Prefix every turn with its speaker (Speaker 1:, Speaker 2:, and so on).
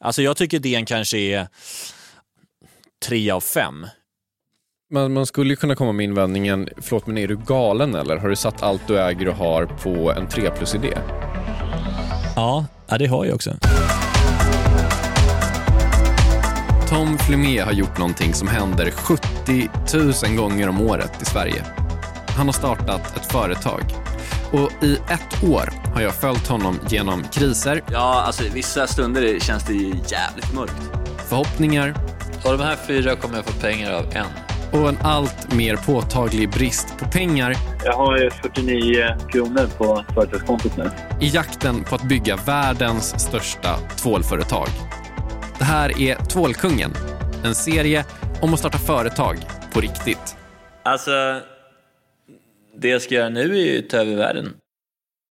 Speaker 1: Alltså jag tycker DN kanske är tre av fem.
Speaker 2: Man, man skulle ju kunna komma med invändningen, förlåt men är du galen eller? Har du satt allt du äger och har på en 3 plus-idé?
Speaker 1: Ja, ja det har jag också.
Speaker 2: Tom Flumé har gjort någonting som händer 70 000 gånger om året i Sverige. Han har startat ett företag. Och i ett år har jag följt honom genom kriser,
Speaker 3: Ja, alltså vissa stunder känns det ju jävligt mörkt.
Speaker 2: förhoppningar
Speaker 3: Av de här fyra kommer jag få pengar av en.
Speaker 2: och en allt mer påtaglig brist på pengar
Speaker 4: Jag har ju 49 kronor på företagskontot nu.
Speaker 2: i jakten på att bygga världens största tvålföretag. Det här är Tvålkungen, en serie om att starta företag på riktigt.
Speaker 3: Alltså, det jag ska göra nu är ju ta över världen.